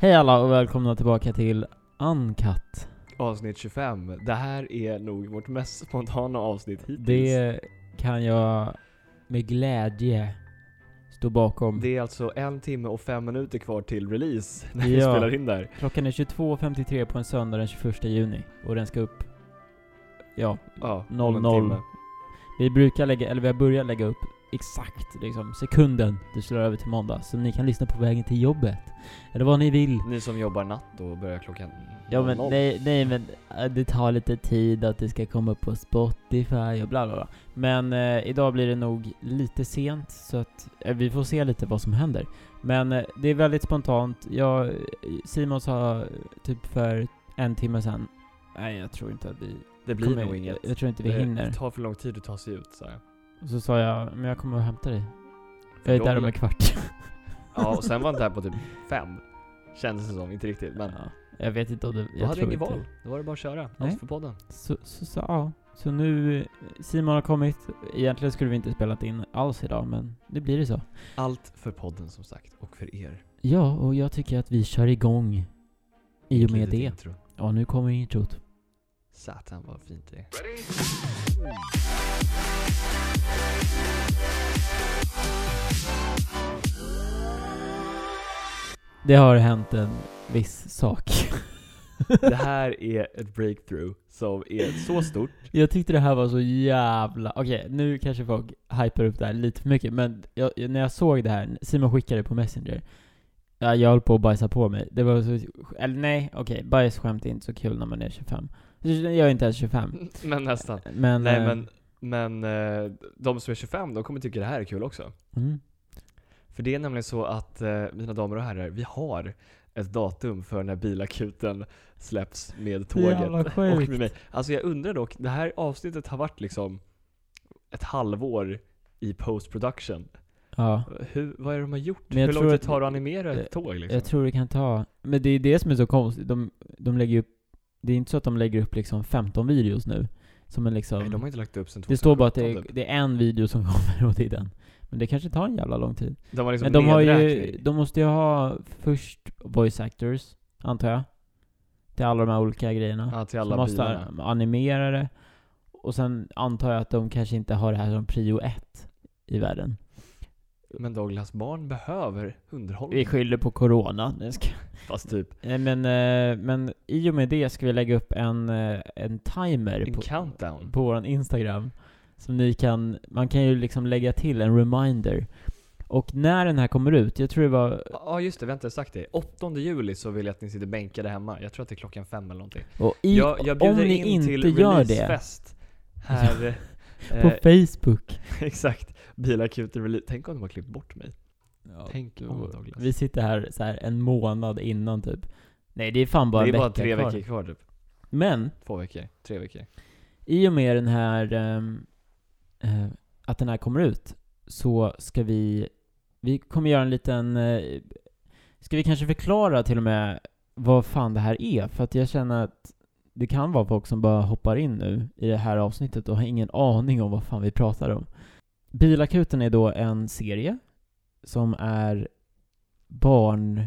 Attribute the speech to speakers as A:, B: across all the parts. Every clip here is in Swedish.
A: Hej alla och välkomna tillbaka till Uncut.
B: Avsnitt 25. Det här är nog vårt mest spontana avsnitt hittills.
A: Det kan jag med glädje stå bakom.
B: Det är alltså en timme och fem minuter kvar till release när vi
A: Ja.
B: spelar in där.
A: Klockan är 22.53 på en söndag den 21 juni och den ska upp, ja,
B: Ja, om en
A: 00.
B: timme.
A: Vi brukar lägga, eller vi har börjat lägga upp exakt liksom sekunden det slår över till måndag. Så ni kan lyssna på vägen till jobbet. Eller vad ni vill.
B: Ni som jobbar natt och börjar klockan
A: Ja men
B: 00.
A: nej, nej men eh, det tar lite tid att det ska komma upp på Spotify och bla bla bla. Men eh, idag blir det nog lite sent så att eh, vi får se lite vad som händer. Men eh, det är väldigt spontant. Jag, Simon sa eh, typ för en timme sedan, nej jag tror inte att vi
B: det blir
A: kommer-
B: nog inget.
A: Jag, jag tror inte vi
B: det,
A: hinner.
B: det tar för lång tid att ta sig ut så här.
A: Och så sa jag, men jag kommer och hämtar dig. Jag är
B: För
A: där
B: de-
A: om en kvart.
B: Ja, och sen var inte här på typ fem. Kändes det som, inte riktigt. Men
A: Ja, jag vet inte om det...
B: då
A: Jag
B: hade jag
A: tror
B: inget
A: inte.
B: val. Då var det bara att köra.
A: Nej.
B: Allt för podden.
A: Så, så, så, ja. så nu, eh, Simon har kommit. Egentligen skulle vi inte spelat in alls idag, men det blir det så.
B: Allt för podden som sagt, och för er.
A: Ja, och jag tycker att vi kör igång i och med
B: Litet
A: det.
B: intro.
A: Ja, nu kommer introt.
B: Satan vad fint det är.
A: Det har hänt en viss sak.
B: Det här är ett breakthrough som är så stort.
A: Jag tyckte det här var så jävla... Okej, nu kanske folk hypar upp det här lite för mycket, men jag, när jag såg det här, Simon skickade det på Messenger. Ja, jag höll på att bajsa på mig. Det var så... Eller nej, okej, bajsskämt är inte så kul när man är 25. Jag är inte ens 25.
B: Men nästan.
A: Men...
B: Nej
A: eh,
B: men, men eh, de som är 25, de kommer tycka det här är kul också.
A: Mm,
B: För det är nämligen så att, eh, mina damer och herrar, vi har ett datum för när bilakuten släpps med tåget.
A: Jävla
B: Och
A: sjukt.
B: med mig. Alltså jag undrar dock, det här avsnittet har varit liksom ett halvår i post production.
A: Ja.
B: Hur, vad är det de har gjort?
A: Men jag
B: Hur
A: tror
B: lång tid
A: att-
B: tar det att animera
A: jag-
B: ett tåg liksom?
A: Jag tror det kan ta... Men det är det som är så konstigt. De, de lägger upp... Det är inte så att de lägger upp liksom 15 videos nu. Som en liksom...
B: Nej, de har inte lagt upp sen 2017
A: det står bara att det, är-
B: typ.
A: det är en video som kommer och det är den. Men det kanske tar en jävla lång tid.
B: De har liksom
A: Men de har ju...
B: nedräkning.
A: De måste ju ha först voice actors, antar jag. Till alla de här olika grejerna.
B: Ja, till
A: Så
B: alla
A: måste
B: bilarna.
A: ha animera det. Och sen antar jag att de kanske inte har det här som prio ett i världen.
B: Men Douglas barn behöver underhållning.
A: Vi skyller på corona. Nej, jag skojar.
B: Fast typ
A: Nej men, eh, men i och med det ska vi lägga upp en, eh, en timer
B: en
A: på,
B: countdown.
A: på vår Instagram. Som ni kan, man kan ju liksom lägga till en reminder. Och när den här kommer ut, jag tror det var,
B: Ja just det, vi har inte sagt det. 8 juli så vill jag att ni sitter bänkade hemma. Jag tror att det är klockan fem eller någonting.
A: och i,
B: jag, jag
A: om
B: bjuder
A: ni
B: in
A: inte
B: till
A: gör det
B: releasefest här.
A: på
B: eh,
A: Facebook.
B: exakt. Bilakuten release. Tänk om de har klippt bort mig. Tänk om
A: och
B: Douglas.
A: vi sitter här så här en månad innan typ. Nej det är fan bara
B: det är
A: en
B: bara
A: vecka
B: tre
A: kvar.
B: veckor kvar typ.
A: Men
B: Två veckor, tre veckor.
A: I och med den här, ehm, eh, att den här kommer ut, så ska vi, vi kommer göra en liten, eh, ska vi kanske förklara till och med vad fan det här är? För att jag känner att det kan vara folk som bara hoppar in nu i det här avsnittet och har ingen aning om vad fan vi pratar om. Bilakuten är då en serie som är barn,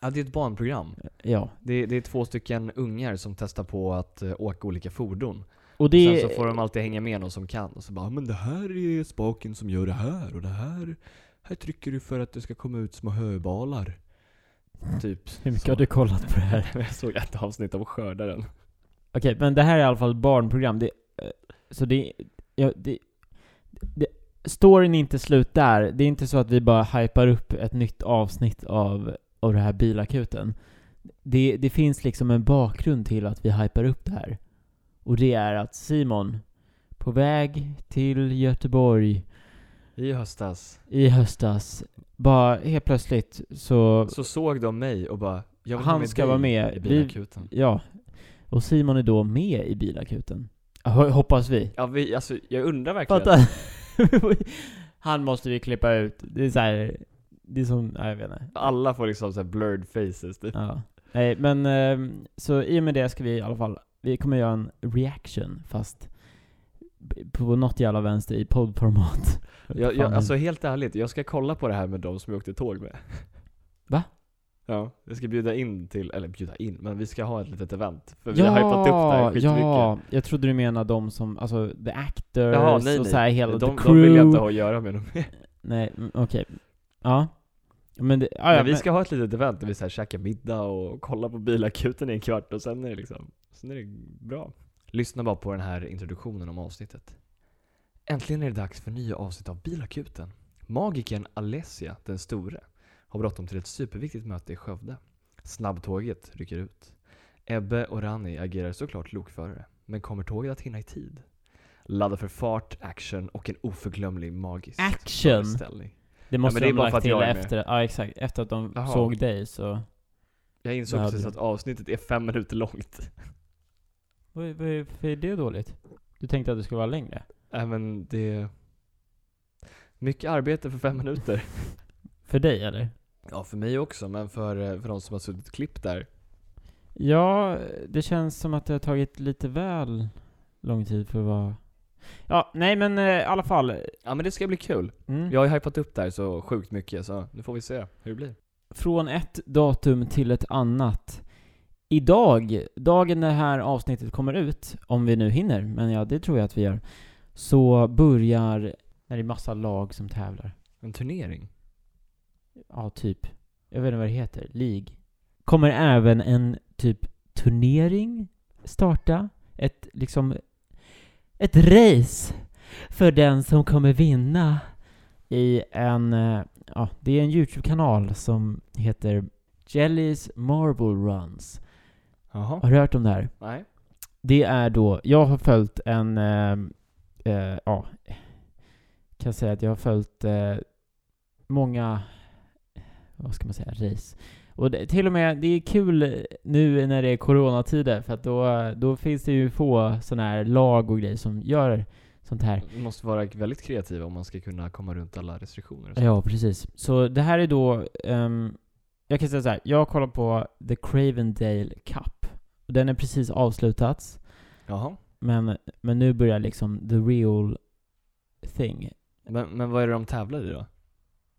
B: Ja, det är ett barnprogram.
A: ja.
B: Det, det är två stycken ungar som testar på att eh, åka olika fordon.
A: Och det
B: Sen så får de alltid hänga med någon som kan och så bara men det här är spaken som gör det här och det här här trycker du för att det ska komma ut små höbalar. Typ.
A: Hur mycket
B: så.
A: har du kollat på det här?
B: Jag såg ett avsnitt av Skördaren.
A: Okej, men det här är i alla fall barnprogram. Det, eh, så det, ja, det, det... Storyn är inte slut där. Det är inte så att vi bara hypar upp ett nytt avsnitt av, av det här bilakuten. Det, det finns liksom en bakgrund till att vi hypar upp det här. Och det är att Simon, på väg till Göteborg
B: I höstas
A: i höstas, bara helt plötsligt så...
B: så såg de mig och bara jag vill
A: Han
B: ha med
A: ska
B: dig
A: vara med.
B: i
A: Vi-
B: bilakuten.
A: Ja. Och Simon är då med i bilakuten. Ho- Hoppas vi.
B: Ja, vi, alltså, jag undrar verkligen.
A: Fatta. Han måste vi klippa ut. Det är så här, det är som, nej, jag vet inte.
B: Alla får liksom så här blurred faces typ.
A: Ja. Nej, men ehm, så i och med det ska vi i alla fall, vi kommer göra en reaction fast b- på något jävla vänster i poddformat.
B: Jag,
A: Fan,
B: alltså, jag, alltså helt ärligt, jag ska kolla på det här med de som jag åkte tåg med.
A: Va?
B: Ja, vi ska bjuda in till, eller bjuda in, men vi ska ha ett litet event. För vi har hypat upp det här skitmycket.
A: ja, jag trodde du menade de som, alltså the actors
B: Jaha, nej,
A: och
B: nej.
A: så här hela
B: de,
A: the
B: de
A: crew.
B: vill jag inte ha att göra med. Dem.
A: Nej, mm, okej. Ja. Men det, ja, ja,
B: men vi
A: men-
B: ska ha ett litet event där vi så här käkar middag och kolla på bilakuten i en kvart och sen är det liksom, sen är det bra. Lyssna bara på den här introduktionen om avsnittet. Äntligen är det dags för nya avsnitt av Bilakuten. Magikern Alessia den store har bråttom till ett superviktigt möte i Skövde. Snabbtåget rycker ut. Ebbe och Rani agerar såklart lokförare, men kommer tåget att hinna i tid? Ladda för fart, action och en oförglömlig magisk
A: Action?
B: föreställning.
A: det måste
B: men det är
A: de
B: bara för
A: lagt
B: att
A: till
B: jag är med.
A: efter, ja exakt, efter att de
B: Jaha.
A: såg dig så...
B: Jag insåg
A: Behövde
B: precis
A: det.
B: att avsnittet är fem minuter långt.
A: Vad- vad- Varför är det dåligt? Du tänkte att det skulle vara längre?
B: Nej men det... är Mycket arbete för fem minuter.
A: För dig eller?
B: Ja, för mig också, men för, eh, för de som har suttit klipp där.
A: Ja, det känns som att det har tagit lite väl lång tid för att vara... Ja, nej men eh, i alla fall.
B: Ja men det ska bli kul.
A: Mm.
B: Jag har ju hypat upp där så sjukt mycket, så nu får vi se hur det blir.
A: Från ett datum till ett annat. Idag, dagen det här avsnittet kommer ut, om vi nu hinner, men ja, det tror jag att vi gör, så börjar, när det är massa lag som tävlar,
B: En turnering?
A: ja, typ, jag vet inte vad det heter, League, kommer även en typ turnering starta, ett liksom, ett race för den som kommer vinna i en, eh, ja, det är en YouTube-kanal som heter Jellies Marble Runs.
B: Jaha.
A: Har du hört om det här?
B: Nej.
A: Det är då, jag har följt en, eh, eh, ja, kan säga att jag har följt eh, många, vad ska man säga, race. Och det, till och med, det är kul nu när det är coronatider för att då, då finns det ju få sådana här lag och grejer som gör sånt här.
B: Man måste vara väldigt kreativ om man ska kunna komma runt alla restriktioner och så.
A: Ja, precis. Så det här är då, ehm, jag kan säga så här, jag kollar på The Cravendale Cup. Den är precis avslutats.
B: Jaha.
A: Men, men nu börjar liksom the real thing.
B: Men, men vad är det de tävlar i då?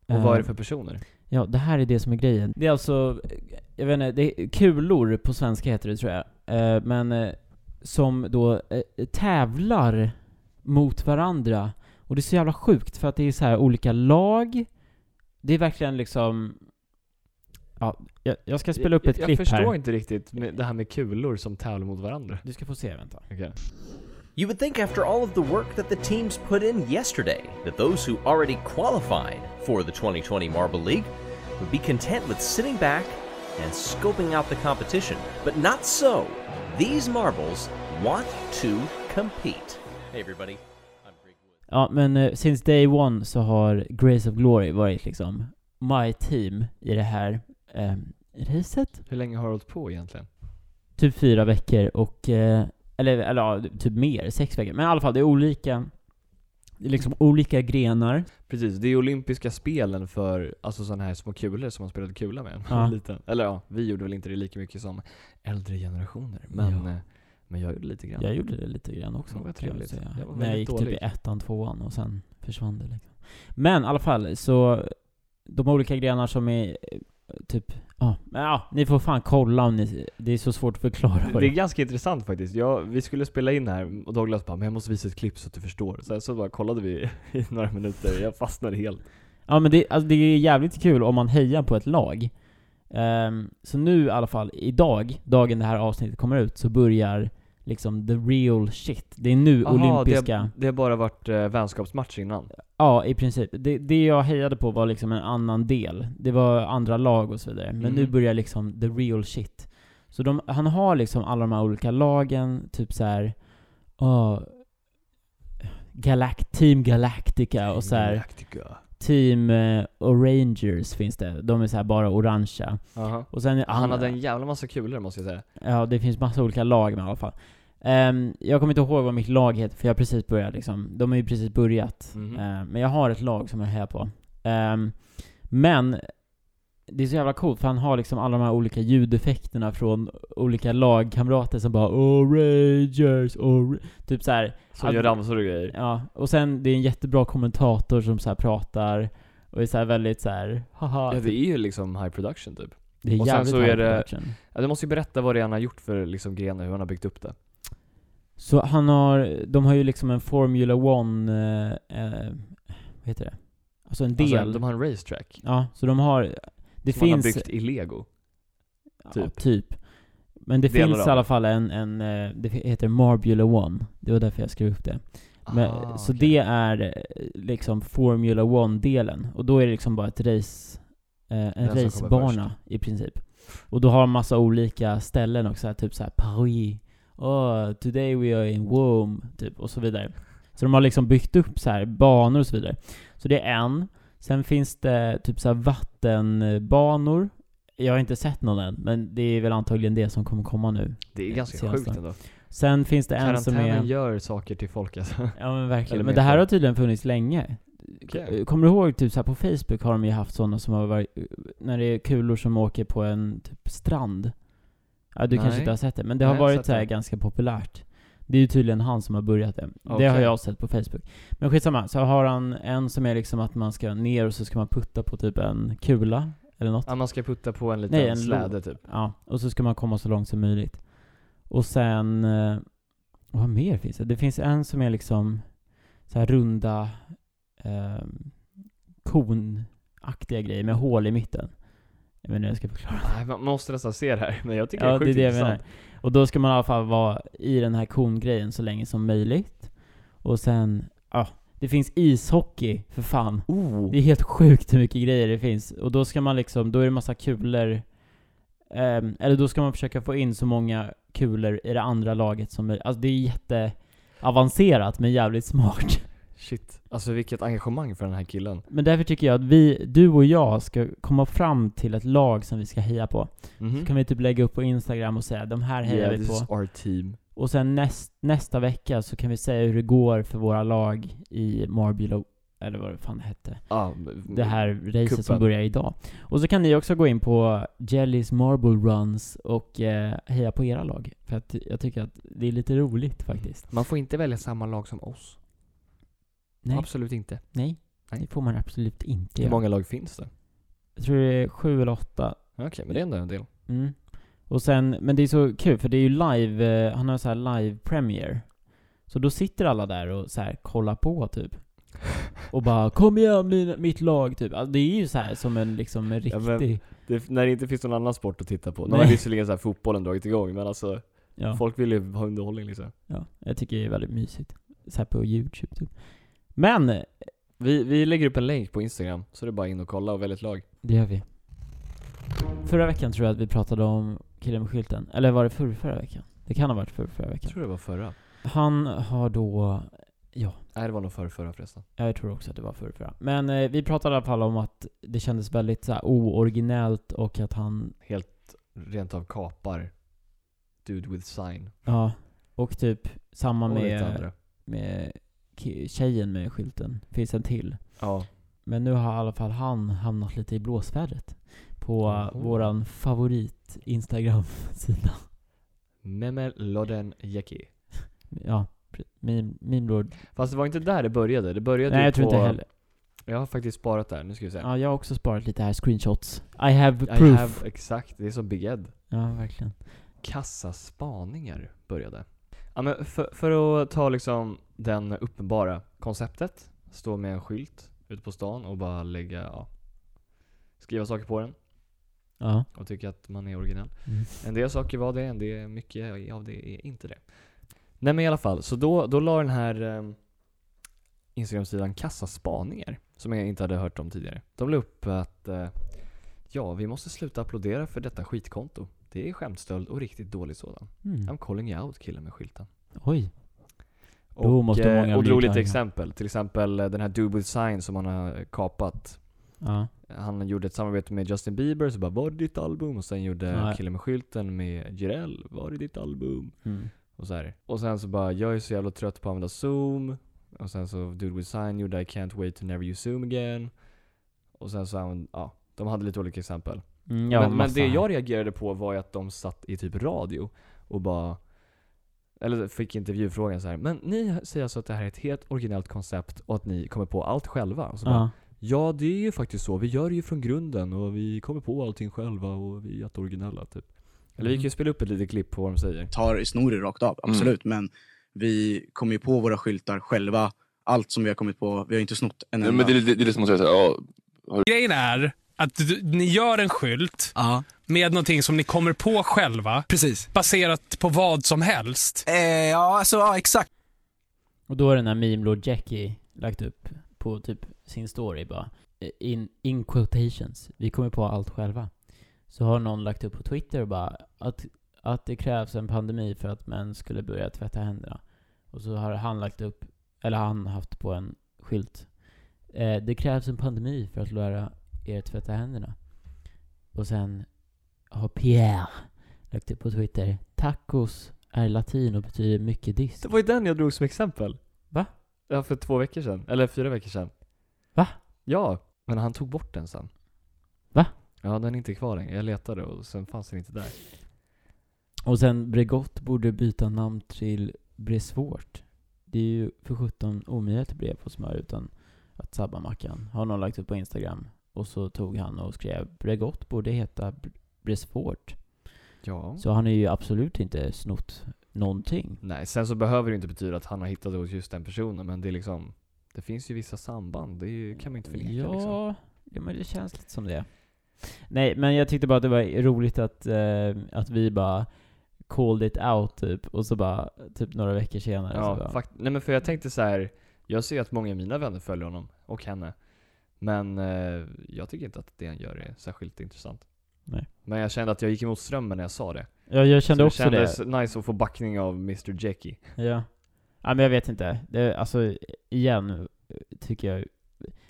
B: Och
A: Eh,
B: vad är det för personer?
A: Ja, det här är det som är grejen. Det är alltså, eh, jag vet inte, det är kulor på svenska heter det tror jag. Eh, men eh, som då eh, tävlar mot varandra. Och det är så jävla sjukt för att det är så här olika lag. Det är verkligen liksom... Ja, jag, jag ska spela upp ett
B: jag,
A: klipp
B: Jag förstår
A: här.
B: inte riktigt med det här med kulor som tävlar mot varandra.
A: Du ska få se, vänta.
B: Okej.
C: You would think after all of the work that the teams put in yesterday that those who already qualified for the 2020 Marble League would be content with sitting back and scoping out the competition, but not so. These marbles want to compete. Hey everybody, I'm Greg Woods.
A: Ja, men eh, since day one så har Grace of Glory varit liksom my team i det här eh, racet.
B: Hur länge har du hållit på egentligen?
A: Typ fyra veckor och, eh, eller, eller ja, typ mer, sex veckor. Men i alla fall, det är olika, det är liksom olika grenar.
B: Precis, det är olympiska spelen för alltså sådana här små kulor som man spelade kula med när man
A: Ja.
B: var liten. Eller ja, vi gjorde väl inte det lika mycket som äldre generationer. Men,
A: Ja.
B: eh, men jag gjorde lite grann.
A: Jag gjorde det lite grann också,
B: Ja, vad
A: kan jag väl
B: trevligt.
A: säga.
B: Jag var
A: När jag
B: väldigt
A: gick typ
B: dålig.
A: i ettan, tvåan och sen försvann det liksom. Men i alla fall, så de olika grenar som är eh, typ, ja, men ja, ni får fan kolla om ni, det är så svårt att förklara
B: Det-
A: vad
B: Det
A: det
B: är ganska intressant faktiskt. Jag, vi skulle spela in här och Douglas bara 'Men jag måste visa ett klipp så att du förstår' Sen så bara kollade vi i några minuter, jag fastnade helt.
A: Ja men det, alltså, det är jävligt kul om man hejar på ett lag. Ehm, så nu i alla fall, idag, dagen det här avsnittet kommer ut, så börjar liksom the real shit. Det är nu
B: det,
A: olympiska...
B: har- det har bara varit eh, vänskapsmatch innan.
A: Ja, i princip. Det, det jag hejade på var liksom en annan del. Det var andra lag och så vidare. Men
B: Mm.
A: nu börjar liksom the real shit. Så de, han har liksom alla de här olika lagen, typ så här. ja, Galact, Team Galactica och så här.
B: Galactica.
A: Team eh, Orangers finns det. De är så här bara orangea.
B: Jaha.
A: Och sen,
B: Ah, Han hade en jävla massa kulor måste jag säga.
A: Ja, det finns massa olika lag med i alla fall. Ehm, jag kommer inte ihåg vad mitt lag heter, för jag har precis börjat liksom. De har ju precis börjat.
B: Mhm.
A: Ehm, men jag har ett lag som jag hejar på. Ehm, men det är så jävla coolt, för han har liksom alla de här olika ljudeffekterna från olika lagkamrater som bara 'Orangers' or Typ så här.
B: Som
A: Att-
B: gör ramsor och grejer.
A: Ja, och sen det är en jättebra kommentator som så här pratar och är så här väldigt så här haha.
B: Ja, det är ju liksom high production typ.
A: Det är
B: Och sen
A: jävligt
B: så är
A: high
B: det-
A: production.
B: Ja, du måste ju berätta vad det är han har gjort för liksom, grenar, hur han har byggt upp det.
A: Så han har, de har ju liksom en Formula One, eh, eh, vad heter det? Alltså en del.
B: Alltså, de har en racetrack.
A: Ja, så de har, det
B: som han har
A: finns,
B: byggt i lego.
A: ja,
B: typ.
A: typ. Men det
B: Delar
A: finns
B: av
A: i alla
B: det.
A: fall en, en eh, det heter Marbula One. Det var därför jag skrev upp det. Men,
B: Ah,
A: så
B: okej.
A: det är eh, liksom Formula One-delen. Och då är det liksom bara ett race, eh, en
B: Den som kommer
A: racebana i princip. Och då har de massa olika ställen också, typ så här Paris, oh, today we are in Rome, typ och så vidare. Så de har liksom byggt upp så här banor och så vidare. Så det är en. Sen finns det typ så här vattenbanor. Jag har inte sett någon än, men det är väl antagligen det som kommer komma nu.
B: Det är ganska
A: senaste.
B: sjukt ändå.
A: Sen finns det en som
B: Karantänen
A: är...
B: gör saker till folk alltså.
A: Ja men verkligen.
B: Eller
A: Men
B: mer
A: det här
B: för-
A: har tydligen funnits länge.
B: Okej.
A: Kommer du ihåg typ så här på Facebook har de ju haft sådana som har varit, när det är kulor som åker på en typ strand. Ja du kanske
B: Nej.
A: inte har sett det, men det har
B: Nej, jag har
A: varit
B: sett
A: så här
B: det.
A: ganska populärt. Det är ju tydligen han som har börjat det. Det har
B: Okej.
A: jag sett på Facebook. Men skitsamma, så har han en som är liksom att man ska ner och så ska man putta på typ en kula, eller något.
B: Ja, man ska putta på en liten
A: Nej, en
B: släde typ.
A: Ja, och så ska man komma så långt som möjligt. Och sen, eh, vad mer finns det? Det finns en som är liksom så här runda eh, konaktiga grejer med hål i mitten. Jag vet inte hur jag ska förklara.
B: Nej, man måste nästan se det här, men jag tycker det
A: Ja,
B: är
A: det är
B: sjukt
A: det jag menar.
B: intressant.
A: Och då ska man i alla fall vara i den här kongrejen så länge som möjligt. Och sen, ja, det finns ishockey, för fan.
B: Oh.
A: Det är helt sjukt hur mycket grejer det finns. Och då ska man liksom, då är det massa kulor. ehm, eller då ska man försöka få in så många kulor i det andra laget som möjligt. Alltså det är jätteavancerat men jävligt smart.
B: Shit. Alltså vilket engagemang för den här killen.
A: Men därför tycker jag att vi, du och jag, ska komma fram till ett lag som vi ska heja på.
B: Mhm.
A: Så kan vi typ lägga upp på Instagram och säga de här hejar
B: yeah,
A: vi
B: this is
A: på.
B: our team.
A: Och sen näst, nästa vecka så kan vi säga hur det går för våra lag i Marbilo, eller vad det fan hette.
B: Ah, m-
A: det här racet som
B: Kuppen.
A: börjar idag. Och så kan ni också gå in på Jellys Marble Runs och eh, heja på era lag. För att jag tycker att det är lite roligt
B: Mm.
A: faktiskt.
B: Man får inte välja samma lag som oss.
A: Nej,
B: Absolut inte.
A: nej,
B: Nej.
A: det får man absolut inte
B: Hur
A: göra.
B: många lag finns det?
A: Jag tror det är sju eller åtta.
B: Okej, men det är ändå en del.
A: Mm. Och sen, men det är så kul för det är ju live, eh, han har så här live premiere. Så då sitter alla där och så här kollar på typ. Och bara 'Kom igen min, mitt lag' typ. Alltså, det är ju så här som en liksom en
B: Ja, men-
A: riktig...
B: Det, när det inte finns någon annan sport att titta på. Nu
A: Nej.
B: har visserligen så här fotbollen dragit igång, men alltså
A: Ja.
B: folk vill ju ha underhållning liksom.
A: Ja, jag tycker det är väldigt mysigt. Så här på youtube typ. Men, eh,
B: Vi, vi lägger upp en länk på Instagram, så det är bara in och kolla och välj ett lag.
A: det gör vi. Förra veckan tror jag att vi pratade om killen med skylten. Eller var det förra, förra veckan? Det kan ha varit förra, förra
B: Jag
A: veckan.
B: tror det var förra.
A: Han har då,
B: Nej, det var nog förra, förra förresten.
A: jag tror också att det var förra, förra. Men eh, vi pratade i alla fall om att det kändes väldigt så här, ooriginellt och att han,
B: Helt rent av kapar. Dude with sign.
A: ja, och typ samma
B: och lite
A: med,
B: andra.
A: med ki- tjejen med skylten. Finns en till.
B: Ja.
A: Men nu har i alla fall han hamnat lite i blåsvädret på
B: Jaha.
A: våran favorit Instagram-sida.
B: Memel Loden Jackie.
A: Ja, pre- min, min lord.
B: Fast det var inte där det började. Det började
A: Nej
B: ju
A: jag tror
B: på...
A: inte heller.
B: Jag har faktiskt sparat där, nu ska vi se.
A: Ja, jag har också sparat lite här screenshots. I have
B: I
A: proof.
B: have, exakt, det är som Big Ed.
A: Ja, verkligen.
B: Kassaspaningar började. Ja, men för, för att ta liksom den uppenbara konceptet, stå med en skylt ute på stan och bara lägga, ja, skriva saker på den
A: Ja.
B: och tycka att man är originell.
A: Mm.
B: En del saker var det, en del, mycket av det är inte det. Nej men i alla fall, så då, då la den här eh, Instagram-sidan Kassaspaningar, som jag inte hade hört om tidigare. De la upp att eh, ja, vi måste sluta applådera för detta skitkonto. Det är skämtstöld och riktigt dålig sådan. I'm
A: Mm.
B: calling you out killen med skylten.
A: Oj. Då
B: Och,
A: måste
B: eh,
A: många
B: och
A: bli
B: drog lite
A: arga.
B: exempel. Till exempel eh, den här Dude with Sign som han har kapat.
A: Ja.
B: Han gjorde ett samarbete med Justin Bieber, så bara 'Var är ditt album?' Och sen gjorde
A: Nej.
B: killen med skylten med Jireel 'Var är ditt album?'
A: Mm.
B: Och så här. Och sen så bara 'Jag är så jävla trött på att använda zoom' Och sen så Dude with Sign gjorde 'I can't wait to never use zoom again' Och sen så använde, ja, de hade lite olika exempel.
A: Mm, ja,
B: men, men
A: massa
B: det
A: här.
B: jag reagerade på var ju att de satt i typ radio och bara eller fick intervjufrågan så här. men ni säger alltså att det här är ett helt originellt koncept och att ni kommer på allt själva? Och så bara,
A: Ja.
B: Ja, det är ju faktiskt så. Vi gör det ju från grunden och vi kommer på allting själva och vi är jätteoriginella typ. Eller vi
A: Mm.
B: kan ju spela upp ett litet klipp på vad de säger.
D: tar snorer rakt av, absolut.
E: Mm.
D: Men vi kommer ju på våra skyltar själva. Allt som vi har kommit på, vi har inte snott en
E: Nej,
D: enda.
E: men det, är- det, det är liksom att säga såhär, ja,
F: Grejen är att du, ni gör en skylt
G: Ja,
F: med någonting som ni kommer på själva
G: precis.
F: baserat på vad som helst.
G: Eh, ja, alltså, ja, exakt.
A: Och då har den här meme Lord Jackie lagt upp på typ sin story bara. eh, In, in quotations. Vi kommer på allt själva. Så har någon lagt upp på Twitter och bara att, att det krävs en pandemi för att män skulle börja tvätta händerna. Och så har han lagt upp, eller han haft på en skylt. Eh, det krävs en pandemi för att lära er tvätta händerna. Och sen har Pierre lagt upp på Twitter. Tacos är latin och betyder mycket disk.
B: Det var ju den jag drog som exempel.
A: Va?
B: Ja, för två veckor sedan. Eller fyra veckor sedan.
A: Va?
B: Ja, men han tog bort den sen.
A: Va?
B: Ja, den är inte kvar längre. Jag letade och sen fanns den inte där.
A: Och sen Bregott borde byta namn till Bresvårt. Det är ju för 17 omöjligt brev på smör utan att sabba mackan. Har någon lagt upp på Instagram. Och så tog han och skrev Bregott borde heta Br- Bresvårt.
B: Ja.
A: Så han är ju absolut inte snott någonting.
B: Nej, sen så behöver det inte betyda att han har hittat det hos just den personen, men det är liksom Det finns ju vissa samband, det är ju, kan man inte förneka
A: ja, alltså.
B: liksom.
A: ja, men det känns lite som det. Nej, men jag tyckte bara att det var roligt att, eh, att vi bara called it out typ. Och så bara, typ några veckor senare. så
B: Ja,
A: bara,
B: fakt- nej men för jag tänkte så här. jag ser att många av mina vänner följer honom, och henne. Men eh, jag tycker inte att det han gör är särskilt intressant.
A: Nej.
B: Men jag kände att jag gick emot strömmen när jag sa det.
A: ja, jag kände
B: så
A: också
B: det
A: det.
B: kändes nice att få backning av Mr Jackie.
A: Ja. Ja, men jag vet inte. Det, alltså, igen, tycker jag...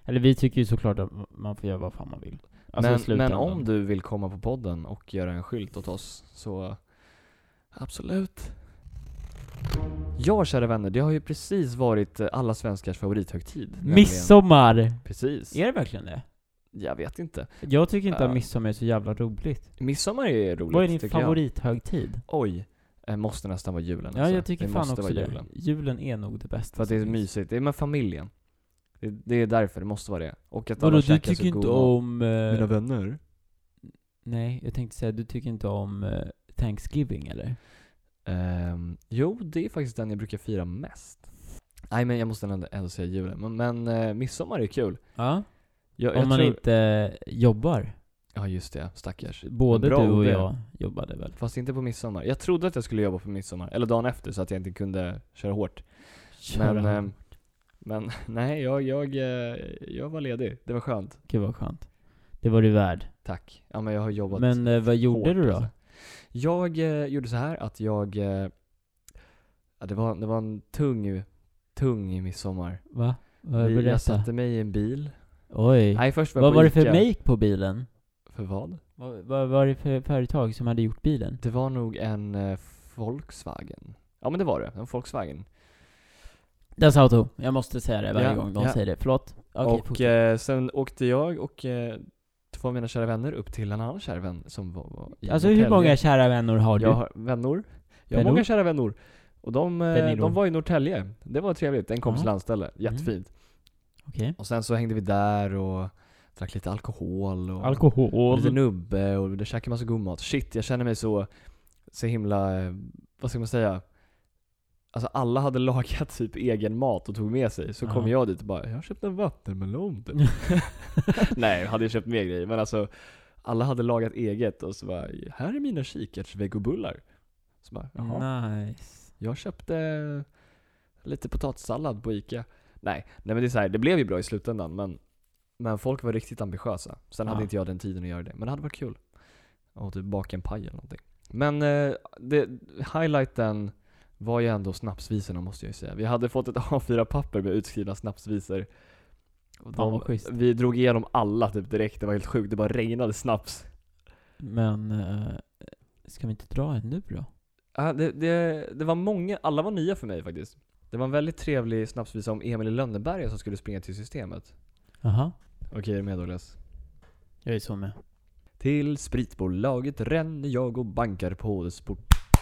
A: Eller vi tycker ju såklart att man får göra vad fan man vill. Alltså, i
B: men, men
A: slutändan.
B: om du vill komma på podden och göra en skylt åt oss, så absolut. Ja, kära vänner, det har ju precis varit eh, alla svenskars favorithögtid. nämligen-
A: Midsommar!
B: Precis.
A: Är det verkligen det?
B: Jag vet inte.
A: Jag tycker inte
B: Ja.
A: att midsommar är så jävla roligt.
B: Midsommar är roligt,
A: Vad är din
B: tycker
A: favorithögtid?
B: Jag. Oj, eh, måste nästan vara julen
A: Ja,
B: alltså.
A: jag tycker
B: det
A: fan
B: måste
A: också
B: vara
A: det.
B: julen.
A: Julen är nog det bästa
B: För att det är
A: som finns.
B: mysigt, det är med familjen. Det, det är därför, det måste vara det. Och att
A: Vadå,
B: alla
A: du
B: käkar
A: tycker
B: så god
A: inte
B: mat.
A: om... eh,
B: vänner?
A: nej, jag tänkte säga, du tycker inte om eh, Thanksgiving eller?
B: Ehm, jo, det är faktiskt den jag brukar fira mest. Nej men jag måste ändå, ändå säga julen. Men, men eh, midsommar är kul.
A: Ja.
B: Jag,
A: Om
B: jag
A: man
B: tror-
A: inte jobbar.
B: Ja just det, stackars.
A: Både
B: Bra
A: du och
B: idé.
A: jag jobbade väl?
B: Fast inte på midsommar. Jag trodde att jag skulle jobba på midsommar, eller dagen efter så att jag inte kunde köra hårt. Men,
A: Köra.
B: ehm, men nej, jag, jag, eh, jag var ledig. Det var skönt.
A: Gud vad skönt. Det var du värd.
B: Tack. Ja men jag har jobbat
A: Men eh, vad gjorde
B: hårt,
A: du då?
B: alltså. Jag eh, gjorde så här att jag... Eh, ja, det, var, det var en tung, tung midsommar.
A: Va? Vad-
B: Vi, jag
A: Berätta.
B: satte mig i en bil.
A: Oj.
B: Nej, först var jag
A: vad
B: på
A: var det för
B: Ica.
A: make på bilen?
B: För vad?
A: Vad, vad var det för företag som hade gjort bilen?
B: Det var nog en eh, Volkswagen. Ja men det var det, en Volkswagen.
A: Das Auto. Jag måste säga det varje
B: Ja,
A: gång de
B: ja.
A: säger det. Förlåt. Okej,
B: och
A: fortsätt.
B: eh, sen åkte jag och eh, två av mina kära vänner upp till en annan kär vän som var, var i
A: alltså hur
B: Norrtälje.
A: många kära vänner har du?
B: Jag har vänner. Jag har
A: Vänner?
B: många kära vänner. Och de, eh,
A: Vänner.
B: de var i Norrtälje. Det var trevligt, en kompis
A: Ja. Mm.
B: landställe. Jättefint.
A: Okej.
B: Och sen så hängde vi där och drack lite alkohol och
A: Alkohol.
B: och lite nubbe och det käkade massa god mat. Shit, jag känner mig så, så himla, eh, vad ska man säga? Alltså alla hade lagat typ egen mat och tog med sig, så kom
A: Ja.
B: jag dit och bara 'Jag har köpt en vattenmelon' typ. Nej, jag hade ju köpt mer grejer, men alltså alla hade lagat eget och så bara 'Här är mina kikärtsvegobullar' Så bara 'Jaha'
A: Nice.
B: Jag köpte lite potatissallad på Ica. Nej, nej men det är så här, det blev ju bra i slutändan men, men folk var riktigt ambitiösa. Sen
A: Ja.
B: hade inte jag den tiden att göra det, men det hade varit kul. Och typ baka en paj eller någonting. Men eh, det, highlighten var ju ändå snapsvisorna måste jag ju säga. Vi hade fått ett A4-papper med utskrivna snapsvisor. Och
A: Fan, vad schysst.
B: vi drog igenom alla typ direkt, det var helt sjukt. Det bara regnade snaps.
A: Men, eh, ska vi inte dra en nu då?
B: Ja, det, det, det var många, alla var nya för mig faktiskt. Det var en väldigt trevlig snapsvisa om Emil i Lönneberga som skulle springa till systemet.
A: Jaha.
B: Okej, är du med Douglas?
A: Jag är så med.
B: Till spritbolaget ränner jag och bankar på dess port.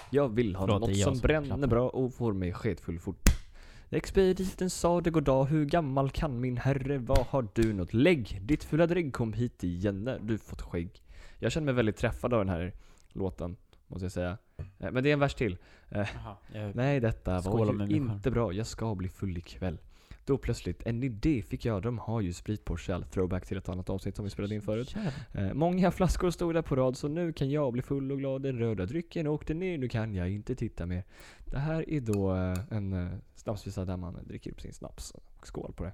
B: Jag vill ha
A: Förlåt, det är
B: något
A: jag
B: som
A: som
B: bränner
A: klappar.
B: bra och får mig sketfull fort. Expediten sa det goddag, hur gammal kan min herre? Vad har du något lägg? Ditt fula drägg kom hit igen när du fått skägg. Jag känner mig väldigt träffad av den här låten, måste jag säga. Eh, Men det är en vers till.
A: Jaha, jag-
B: Nej, detta
A: Skåla med
B: var ju
A: mig själv.
B: inte bra. Jag ska bli full ikväll. Då plötsligt, en idé fick jag. De har ju sprit på Shell. Throwback till ett annat avsnitt som vi spelade in förut.
A: Jävlar.
B: Eh, många flaskor stod där på rad, så nu kan jag bli full och glad. Den röda drycken åkte ner, nu kan jag inte titta mer. Det här är då eh, en eh, snapsvisa där man dricker upp sin snaps. Skål på det.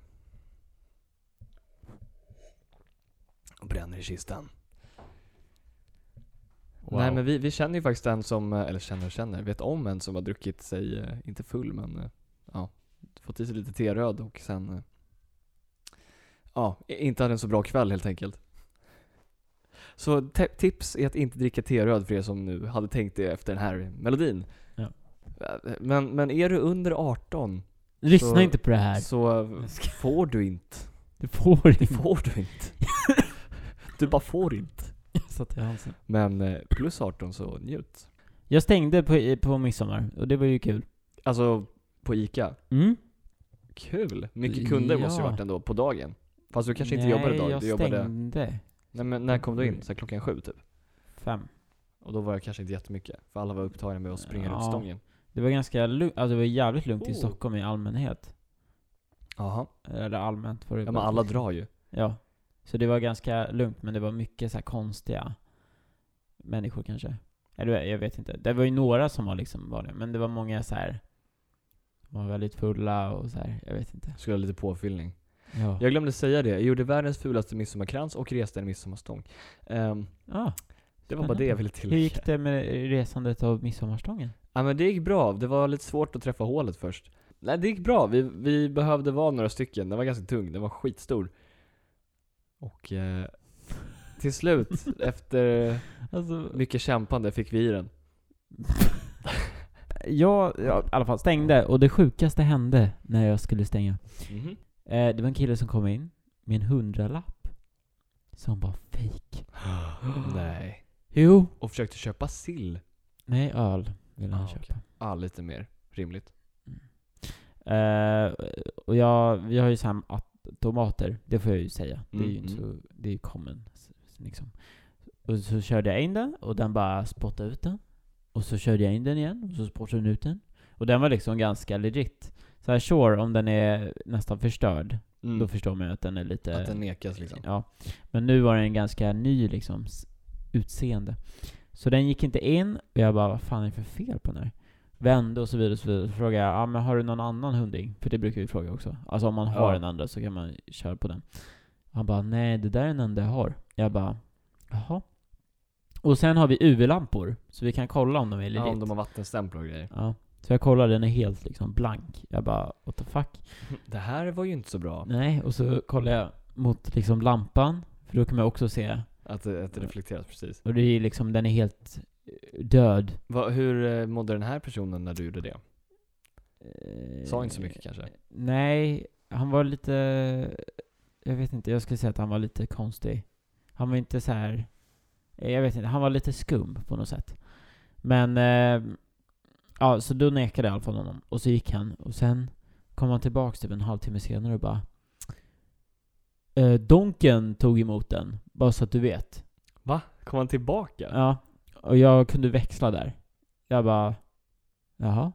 B: Och bränner i kistan.
A: Wow.
B: Nej men vi, vi känner ju faktiskt en som, eh, eller känner och känner, vet om en som har druckit sig, eh, inte full men, eh, ja, fått i sig lite teröd och sen, eh, ja, i- inte hade en så bra kväll helt enkelt. Så te- tips är att inte dricka teröd för er som nu hade tänkt det efter den här melodin.
A: Ja.
B: Eh, Men, men är du under 18
A: Lyssna
B: Så-
A: inte på det här.
B: så
A: Jag ska-
B: får du inte.
A: Du får
B: Det
A: inte.
B: får du inte. Du bara får inte.
A: Satt i halsen.
B: Men eh, plus 18 så njut.
A: Jag stängde på, i- på midsommar och det var ju kul.
B: Alltså, på ICA.
A: Mm.
B: Kul! Mycket kunder måste ju
A: Ja.
B: varit ändå på dagen. Fast du kanske inte
A: Nej,
B: jobbade dag.
A: jag Mm.
B: Du jobbade...
A: stängde
B: Nej, men när kom du in? Så här, klockan sju typ?
A: fem.
B: Och då var jag kanske inte jättemycket. För alla var upptagna med att springa runt
A: Ja.
B: stången.
A: Det var ganska lugnt, alltså det var jävligt lugnt i
B: Oh.
A: Stockholm i allmänhet.
B: Jaha.
A: Eller allmänt var det
B: Ja men
A: bara-
B: alla drar ju.
A: Ja. Så det var ganska lugnt, men det var mycket så här konstiga människor kanske. Eller jag vet inte. Det var ju några som var liksom var det, men det var många så här var väldigt fulla och så här, jag vet inte.
B: Skulle ha lite påfyllning.
A: Ja.
B: Jag glömde säga det. Jag gjorde världens fulaste midsommarkrans och reste en midsommarstång. Ehm,
A: Ah,
B: det var bara
A: Spännande.
B: det jag ville
A: hur
B: tillägga.
A: gick det med resandet av midsommarstången?
B: Ja men det gick bra, det var lite svårt att träffa hålet först. Nej det gick bra, vi, vi behövde vara några stycken, den var ganska tung, den var skitstor. Och eh, till slut, efter
A: Alltså,
B: mycket kämpande, fick vi i den.
A: jag, jag i alla fall stängde, och det sjukaste hände när jag skulle stänga.
B: Mhm.
A: Eh, det var en kille som kom in med en hundralapp som var fake.
B: Nej.
A: Jo.
B: Och försökte köpa sill.
A: Nej, öl ville han
B: Ah,
A: köpa.
B: okej. Ah, lite mer rimligt.
A: Eh, och jag, vi har ju så här automater, det får jag ju säga. Det är ju
B: Mm,
A: inte så, det är ju common. s- s- Liksom. Och så körde jag in den, och den bara spottade ut den. Och så körde jag in den igen, och så spottade den ut den. Och den var liksom ganska legit. Så här, sure, om den är nästan förstörd,
B: Mm.
A: då förstår man ju att den är lite...
B: Att den nekas liksom.
A: Ja. Men nu var den ganska ny liksom, s- utseende. Så den gick inte in och jag bara, vad fan är det för fel på den här? Vände och så vidare och så vidare. Så frågade jag, ah, men har du någon annan hundring? För det brukar vi fråga också. Alltså om man har
B: Ja.
A: en andra så kan man köra på den. Han bara, nej det där är den enda jag har. Jag bara, jaha. Och sen har vi UV-lampor, så vi kan kolla om de är legit.
B: Ja, om de har vattenstämpel och grejer.
A: ja. Så jag kollar, den är helt liksom blank. Jag bara, what the fuck?
B: Det här var ju inte så bra.
A: Nej, och så kollar jag mot liksom lampan, för då kan man också se.
B: Att, att det reflekteras precis.
A: Och det är liksom, den är helt eh, död.
B: Va, hur eh, mådde den här personen när du gjorde det?
A: Eh,
B: Sa inte så mycket kanske?
A: Nej, han var lite, jag vet inte, jag skulle säga att han var lite konstig. Han var inte så här. eh, jag vet inte, han var lite skum på något sätt. Men, eh, ja, så då nekade jag i alla fall honom. Och så gick han, och sen kom han tillbaks typ en halvtimme senare och bara eh, Donken tog emot den, bara så att du vet.
B: Va? Kom han tillbaka?
A: Ja, och jag kunde växla där. Jag bara, jaha?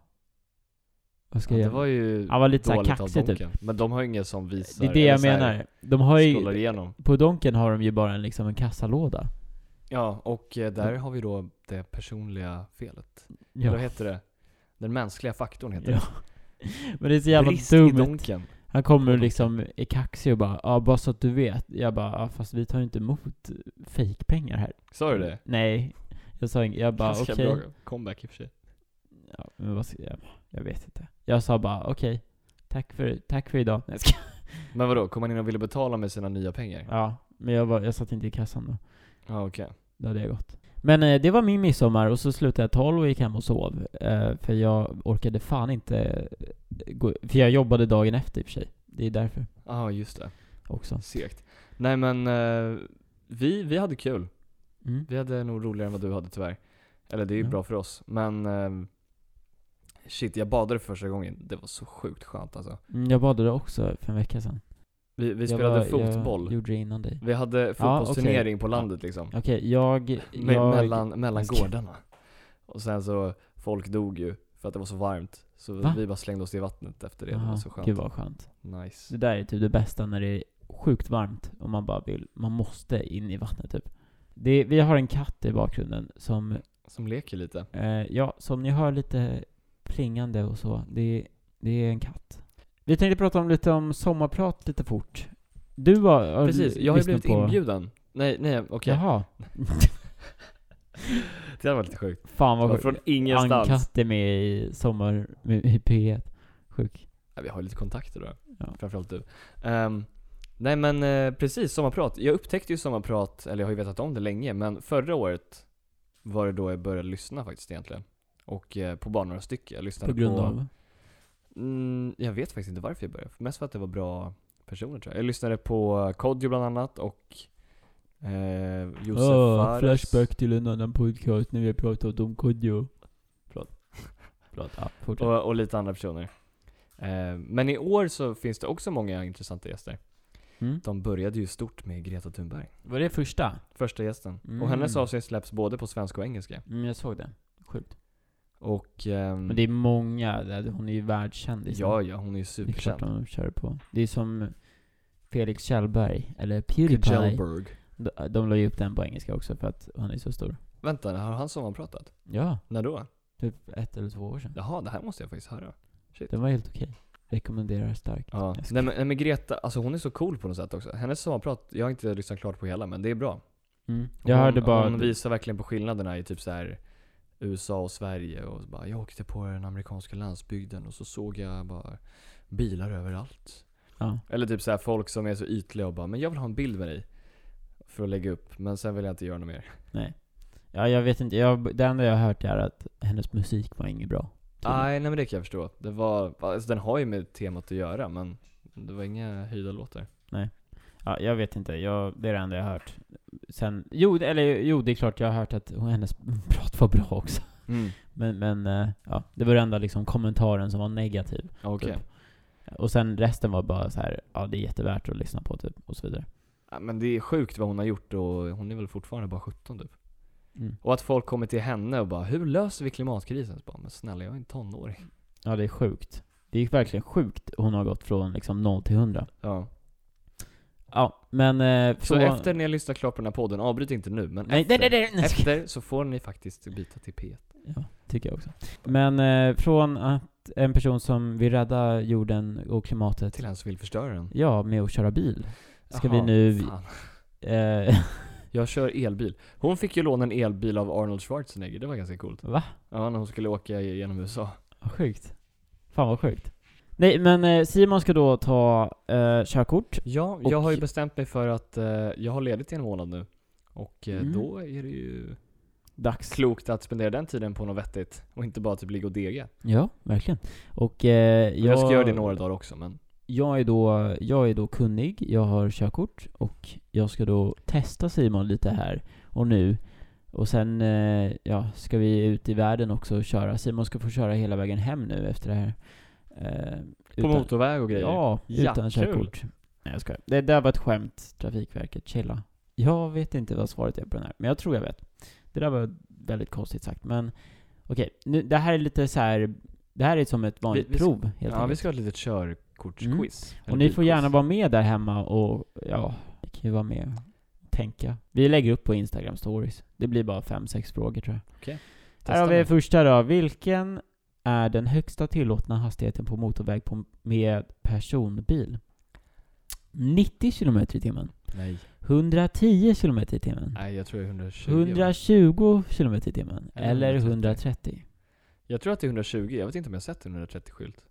A: Vad ska
B: Ja,
A: jag
B: det
A: göra?
B: var ju
A: Han var lite såhär
B: dåligt av
A: kaxig typ.
B: Donken. Men de har ju inget som visar...
A: Det är det jag
B: eller så här,
A: menar. De har ju,
B: scrollar igenom.
A: på Donken har de ju bara en, liksom en kassalåda.
B: Ja, och eh, där har vi då det personliga felet. Ja. Vad
A: Mm. Ja.
B: heter det? Den mänskliga faktorn heter
A: Ja,
B: det.
A: Men det är så jävla
B: Brist i
A: dumt.
B: Donken.
A: Han kommer liksom i kaxig och bara, ja bara så att du vet. Jag bara, ja, fast vi tar ju inte emot fejkpengar här.
B: Sa du det?
A: Nej. Jag sa inget, jag bara okej.
B: Ganska bra comeback i och för sig.
A: Ja, men vad ska jag, jag vet inte. Jag sa bara okej. Tack för, tack för idag. Nej, jag ska-
B: Men vadå, kom han in och ville betala med sina nya pengar?
A: Ja, men jag, var, jag satt inte i kassan då.
B: Ja, okej.
A: Då hade jag gått. Men eh, det var min midsommar och så slutade jag 12 och gick hem och sov. Eh, för jag orkade fan inte eh, gå, För jag jobbade dagen efter i och för sig. Det är därför
B: Ja, just det.
A: också.
B: Segt. Nej men, eh, vi, vi hade kul.
A: Mm.
B: Vi hade nog roligare än vad du hade tyvärr. Eller det är ju
A: Ja.
B: bra för oss, men eh, Shit, jag badade för första gången. Det var så sjukt skönt alltså.
A: Mm, Jag badade också för en vecka sedan.
B: Vi, vi
A: Jag
B: spelade
A: var-
B: fotboll.
A: Jag gjorde det innan dig.
B: Vi hade fotbollsturnering på landet liksom.
A: Okej, jag...
B: Me-
A: jag
B: mellan, mellan
A: jag ska-
B: gårdarna. Och sen så, folk dog ju för att det var så varmt. Så
A: Va?
B: vi bara slängde oss i vattnet efter det. det var
A: Aha,
B: så skönt.
A: Gud vad skönt. Det
B: Nice.
A: där är typ det bästa när det är sjukt varmt och man bara vill, man måste in i vattnet typ. Det, vi har en katt i bakgrunden som,
B: Som leker lite.
A: eh, ja, som ni hör lite plingande och så. Det, det är en katt. Vi tänkte prata om lite om sommarprat lite fort. Du har, har
B: Precis, jag har ju
A: lyssnat
B: blivit
A: på...
B: inbjuden. Nej, nej okej.
A: Jaha.
B: Det hade varit lite sjukt.
A: Fan
B: Bara
A: vad
B: Från
A: sjukt.
B: ingenstans.
A: Ann-Katt är med i Sommar med, i P1. Sjuk.
B: Ja, vi har ju lite kontakter då.
A: Ja.
B: Framförallt du. Ehm, nej men eh, precis, sommarprat. Jag upptäckte ju sommarprat, eller jag har ju vetat om det länge, men förra året var det då jag började lyssna faktiskt egentligen. Och eh, på bara några stycken. Jag lyssnade
A: På grund
B: på,
A: av.
B: Mm, jag vet faktiskt inte varför jag började. Mest för att det var bra personer tror jag. Jag lyssnade på Kodjo bland annat och eh, Josef Fares.
A: flashback till en annan podcast när vi pratade om Kodjo.
B: Förlåt.
A: Förlåt, ja, fortsätt.
B: och, och lite andra personer. Eh, men i år så finns det också många intressanta gäster.
A: Mm.
B: De började ju stort med Greta Thunberg.
A: Var det första?
B: Första gästen.
A: Mm.
B: Och hennes avsnitt släpps både på svenska och engelska.
A: Mm, jag såg det. Sjukt.
B: Och... ehm,
A: Men det är många, där, hon är ju världskändis.
B: ja, ja, hon är ju
A: Det är klart
B: superkänd.
A: de kör på. Det är som Felix Kjellberg, eller Pewdiepie.
B: Kujelberg.
A: De, de la ju upp den på engelska också för att han är så stor.
B: Vänta, har han sommarpratat?
A: Ja,
B: När då?
A: typ ett eller två år sedan.
B: Jaha, det här måste jag faktiskt höra.
A: Den var helt okej. Rekommenderar starkt.
B: Ja.
A: Jag ska-
B: Nej, men, nej men Greta, alltså hon är så cool på något sätt också. Hennes sommarprat, jag har inte lyssnat klart på hela men det är bra.
A: Mm. Jag
B: hon,
A: hörde bara...
B: hon visar verkligen på skillnaderna i typ så här USA och Sverige och så bara, jag åkte på den amerikanska landsbygden och så såg jag bara bilar överallt.
A: ja.
B: Eller typ så här folk som är så ytliga och bara, men jag vill ha en bild med dig. För att lägga upp, men sen vill jag inte göra något mer.
A: Mm. ja, jag vet inte. Jag, det enda jag har hört är att hennes musik var inget bra. tydligen.
B: Nej, nej men det kan jag förstå. Det var, alltså den har ju med temat att göra men det var inga höjda låtar.
A: Ja, jag vet inte. Jag, det är det enda jag har hört. Sen, jo, det- eller jo, det är klart jag har hört att hon- hennes prat var bra också. Men, men eh, ja, det var den enda liksom kommentaren som var negativ.
B: Ja, Okej.
A: Typ. Och sen resten var bara så här, ja det är jättevärt att lyssna på typ, och så vidare.
B: Ja, men det är sjukt vad hon har gjort och hon är väl fortfarande bara 17 typ.
A: Mm.
B: Och att folk kommer till henne och bara 'Hur löser vi klimatkrisen?' Så bara, men snälla jag är en tonåring.
A: Ja, det är sjukt. Det är verkligen sjukt hon har gått från liksom 0 till 100.
B: Ja.
A: Ja, men... eh,
B: Så, efter ni har lyssnat klart på den här podden, avbryt inte nu men
A: Nej, nej,
B: efter,
A: nej, nej, nej.
B: efter så får ni faktiskt byta till P1.
A: Ja, tycker jag också. Men eh, från att en person som vill rädda jorden och klimatet
B: Till en som vill förstöra den.
A: Ja, med att köra bil. Ska
B: Jaha,
A: vi nu...
B: fan.
A: Eh,
B: Jag kör elbil. Hon fick ju låna en elbil av Arnold Schwarzenegger, det var ganska coolt.
A: va?
B: Ja, när hon skulle åka genom USA.
A: Vad Sjukt. Fan vad sjukt. Nej, men eh, Simon ska då ta eh, körkort.
B: Ja,
A: Och-
B: jag har ju bestämt mig för att eh, jag har ledigt i en månad nu. Och eh,
A: Mm.
B: då är det ju
A: Dags.
B: klokt att spendera den tiden på något vettigt och inte bara typ ligga och dega.
A: Ja, verkligen. Och eh, jag...
B: Jag, jag ska göra det några dagar också men
A: Jag är då, jag är då kunnig, jag har körkort och jag ska då testa Simon lite här och nu. Och sen, eh, ja, ska vi ut i världen också och köra. Simon ska få köra hela vägen hem nu efter det här. Eh,
B: På motorväg och grejer.
A: Ja,
B: Ja,
A: utan
B: kul.
A: körkort. Nej jag skojar. Det där var ett skämt, Trafikverket. Chilla. Jag vet inte vad svaret är på den här, men jag tror jag vet. Det där var väldigt konstigt sagt, men okej. nu Det här är lite så här. det här är som ett vanligt
B: Vi- vi ska-
A: prov helt
B: ja, vi
A: enkelt. Mm.
B: ska ha ett litet körkortsquiz. Eller
A: Och ni får
B: bilquiz.
A: gärna vara med där hemma och ja, ni kan ju vara med och tänka. Vi lägger upp på Instagram stories. Det blir bara fem, sex frågor tror jag.
B: Okej.
A: Här har
B: Testa
A: vi
B: nu.
A: första då. Vilken är den högsta tillåtna hastigheten på motorväg på, med personbil? 90 km i timmen.
B: Nej.
A: 110 km i timmen.
B: Nej, jag tror det är 120.
A: 120 km i timmen.
B: Eller
A: Eller
B: 130.
A: 130.
B: Jag tror att det är 120, jag vet inte om jag har sett en 130-skylt.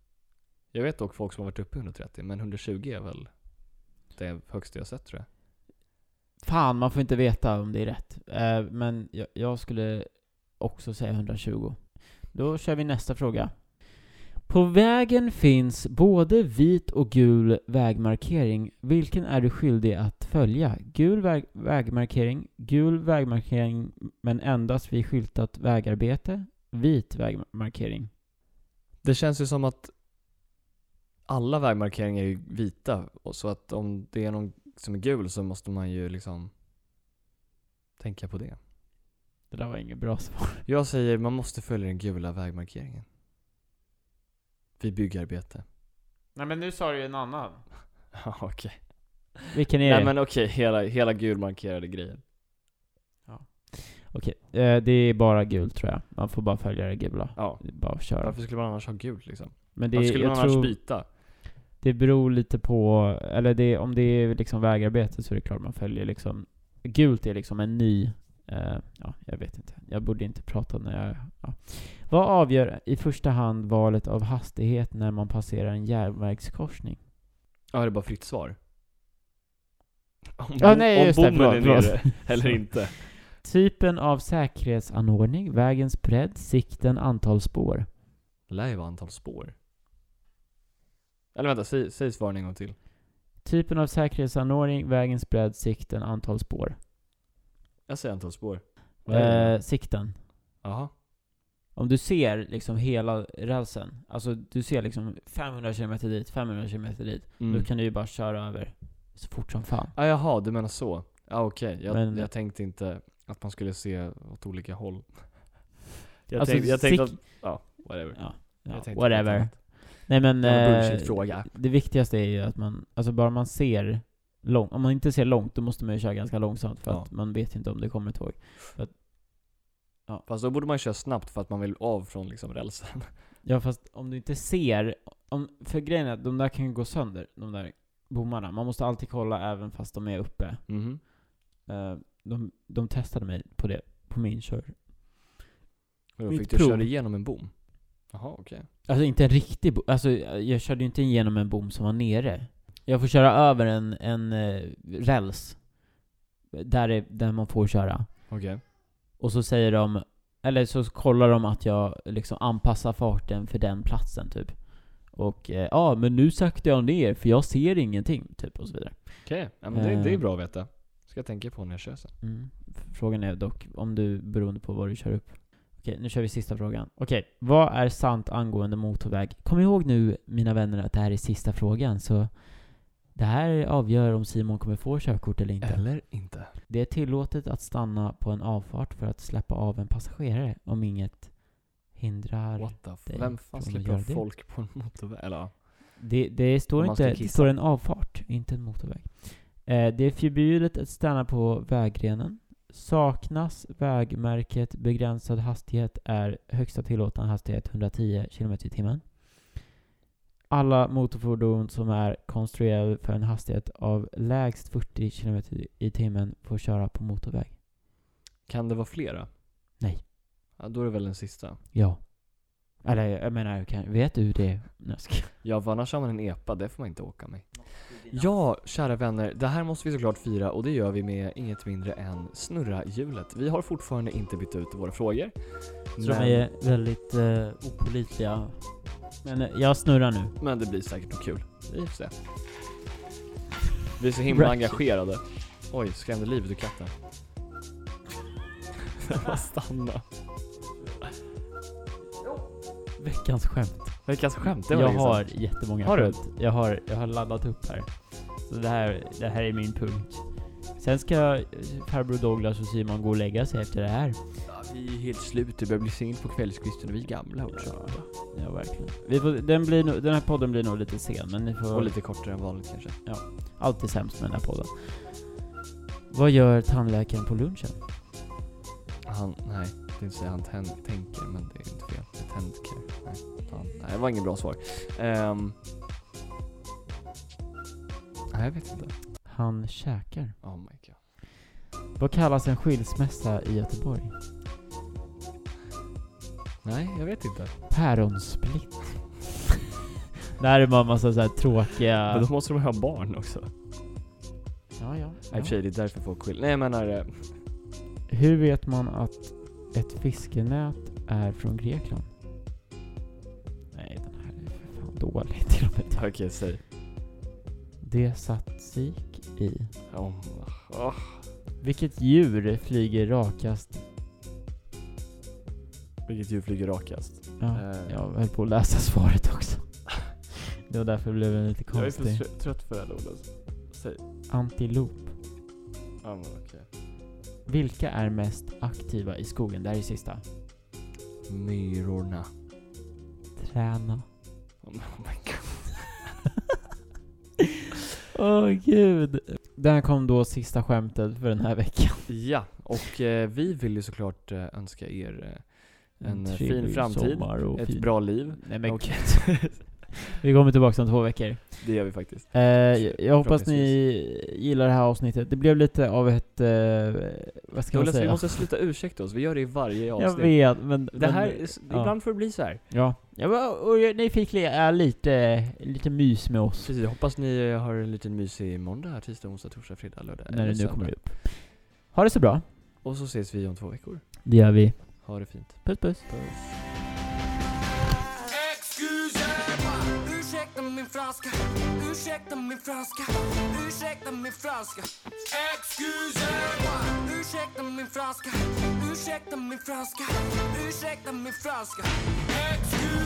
B: Jag vet dock folk som har varit uppe i 130, men 120 är väl det högsta jag har sett tror jag.
A: Fan, man får inte veta om det är rätt. Eh, men jag, jag skulle också säga 120. Då kör vi nästa fråga. På vägen finns både vit och gul vägmarkering. Vilken är du skyldig att följa? Gul väg vägmarkering, gul vägmarkering men endast vid skyltat vägarbete, vit vägmarkering.
B: Det känns ju som att alla vägmarkeringar är ju vita, och så att om det är någon som är gul så måste man ju liksom tänka på det.
A: Det där var inget bra svar.
B: Jag säger man måste följa den gula vägmarkeringen. Vid byggarbete.
A: Nej men nu sa du ju en annan.
B: Ja, okej.
A: Vilken är
B: Nej
A: det?
B: men okej, hela, hela gulmarkerade grejen.
A: Okej, eh, det är bara gult tror jag. Man får bara följa det gula.
B: Ja.
A: Det är Bara att köra.
B: Varför skulle man annars ha gult liksom?
A: Men det,
B: Varför skulle man
A: jag
B: annars
A: tror
B: byta?
A: det beror lite på, eller det, om det är liksom vägarbete så är det klart man följer liksom, gult är liksom en ny, eh, ja jag vet inte, jag borde inte prata när jag, ja. Vad avgör i första hand valet av hastighet när man passerar en järnvägskorsning?
B: Ja, det är bara fritt svar. Om,
A: Ja,
B: bo-
A: nej,
B: om
A: just det,
B: bommen
A: förlåt,
B: är
A: förlåt.
B: nere eller inte.
A: Typen av säkerhetsanordning, vägens bredd, sikten, antal spår.
B: lär ju vara antal spår. Eller vänta, säg, säg svaren en gång till.
A: Typen av säkerhetsanordning, vägens bredd, sikten, antal spår.
B: Jag säger antal spår. Vad är det?
A: Eh, sikten.
B: Jaha.
A: Om du ser liksom hela rälsen, alltså du ser liksom 500 km dit, 500 km dit,
B: Mm.
A: då kan du ju bara köra över så fort som fan.
B: Ah, jaha, du menar så. Ja, ah, okej. Jag,
A: Men-
B: jag tänkte inte att man skulle se åt olika håll. Jag,
A: Alltså,
B: tänkte, jag tänkte
A: sick-
B: att... Ja, whatever.
A: Ja, ja
B: Jag tänkte på något
A: whatever.
B: annat.
A: Nej men...
B: Jävla
A: eh,
B: bullshit-fråga.
A: Det viktigaste är ju att man, alltså bara man ser långt, om man inte ser långt då måste man ju köra ganska långsamt för
B: Ja.
A: att man vet inte om det kommer ett tåg.
B: Fast då borde man köra snabbt för att man vill av från liksom rälsen.
A: Ja fast om du inte ser, om, för grejen är att de där kan ju gå sönder, de där bommarna. Man måste alltid kolla även fast de är uppe.
B: Mhm.
A: Eh, de, de testade mig på det, på min kör.
B: Och då
A: Mitt
B: fick du
A: prov.
B: köra igenom en bom. Jaha, okej.
A: Alltså inte en riktig bom, alltså jag körde ju inte igenom en bom som var nere. Jag får köra över en, en eh, räls. Där, är, där man får köra.
B: Okej.
A: Och så säger de, eller så kollar de att jag liksom anpassar farten för den platsen typ. Och eh, ja, men nu saktar jag ner för jag ser ingenting, typ och så vidare.
B: Okej, ja, men det, det är
A: Eh.
B: bra att veta. Ska jag tänka på när jag kör sen.
A: Mm. Frågan är dock om du, beroende på vad du kör upp. Okej, nu kör vi sista frågan. Okej, vad är sant angående motorväg? Kom ihåg nu, mina vänner, att det här är sista frågan, så det här avgör om Simon kommer få körkort eller inte.
B: Eller inte.
A: Det är tillåtet att stanna på en avfart för att släppa av en passagerare om inget hindrar.
B: What the f-
A: dig
B: Vem fan
A: från att göra
B: släpper
A: det.
B: folk på en motorväg? Eller ja.
A: Det, det står
B: Om man
A: inte,
B: ska
A: det
B: kissa.
A: står en avfart, inte en motorväg. Eh, det är förbjudet att stanna på vägrenen. Saknas vägmärket begränsad hastighet är högsta tillåtna hastighet 110 km i timmen. Alla motorfordon som är konstruerade för en hastighet av lägst 40 km i timmen får köra på motorväg.
B: Kan det vara flera?
A: Nej.
B: Ja, då är det väl den sista.
A: Ja. Eller jag menar, kan, vet du det? Nej, jag skojar.
B: Ja, för annars har man en epa, det får man inte åka med. Ja, kära vänner, det här måste vi såklart fira och det gör vi med inget mindre än snurra hjulet. Vi har fortfarande inte bytt ut våra frågor.
A: Så de är väldigt eh, opålitliga. Men eh, jag snurrar nu.
B: men det blir säkert nog kul. Vi får se. Vi är så himla
A: Ratchet.
B: engagerade. Oj, skrämde livet ur katten. Den bara stanna.
A: Veckans skämt.
B: Veckans skämt, alltså det var
A: Jag
B: länge sedan.
A: har jättemånga
B: Har du?
A: skämt. Jag har, jag har laddat upp här. Så det här, det här är min punkt. Sen ska eh, farbror Douglas och Simon gå och lägga sig efter det här.
B: Vi är helt slut, typ. det börjar bli sent på kvällskvisten och vi är gamla också.
A: Ja, verkligen. Vi får, den, blir, nog- den här podden blir nog lite sen, men ni får...
B: Och lite kortare än vanligt kanske.
A: Alltid sämst med den här podden. Vad gör tandläkaren på lunchen?
B: Han, nej, jag tänkte säga han tän, tänker men det är inte fel. Det är Tänker. Nej, han, nej, det var inget bra svar. Ehm. nej, jag vet inte.
A: Han käkar.
B: Oh my god.
A: Vad kallas en skilsmässa i Göteborg?
B: Nej, jag vet inte.
A: Päronsplitt. det här är bara en massa så här tråkiga...
B: Men då måste de ha barn också. Nej,
A: Ja, ja,
B: i och för
A: ja.
B: sig, det är därför folk skiljer Nej, jag menar... eh,
A: Hur vet man att ett fiskenät är från Grekland? Nej, den här är för fan dålig till och med.
B: Okej, säg.
A: Det satt sik i.
B: Oh, oh.
A: Vilket djur flyger rakast?
B: Vilket djur flyger rakast?
A: Ja,
B: Eh.
A: jag höll på att läsa svaret också. Det var därför det blev en lite
B: Jag är så
A: konstig.
B: trö- trött på det här ordet. Säg.
A: Antilop.
B: Ja, men okej.
A: Vilka är mest aktiva i skogen? Det här är sista.
B: Myrorna.
A: Träna.
B: Oh my god.
A: Åh gud. Där kom då sista skämtet för den här veckan.
B: Ja, och eh, vi vill ju såklart eh, önska er eh, en eh, fin
A: trevlig
B: framtid.
A: sommar och
B: Ett
A: fin-
B: bra liv.
A: Nej men
B: och-
A: gud. Vi kommer tillbaka om två veckor.
B: det gör vi faktiskt.
A: Eh, jag, jag hoppas ni gillar det här avsnittet. Det blev lite av ett... Eh, vad ska man
B: Douglas, vi
A: säga?
B: måste sluta ursäkta oss. Vi gör det i varje
A: Jag
B: avsnitt.
A: vet, men...
B: Det
A: men-
B: här, är s-
A: ja.
B: ibland får det bli så här.
A: Ja. ja men- och jag- ni fick li- äh, lite, lite mys med oss.
B: Precis, jag hoppas ni eh, har en liten mysig måndag, tisdag, onsdag, torsdag, fredag, lördag.
A: När
B: eller
A: det nu
B: söndag.
A: kommer upp. Ha det så bra.
B: Och så ses vi om två veckor.
A: Det gör vi.
B: Ha det fint.
A: Puss puss.
B: Puss.
G: Excusez-moi, ursäkta min franska, ursäkta min franska, ursäkta min franska. Excusez-moi, ursäkta min franska, ursäkta min franska, ursäkta min franska. Excusez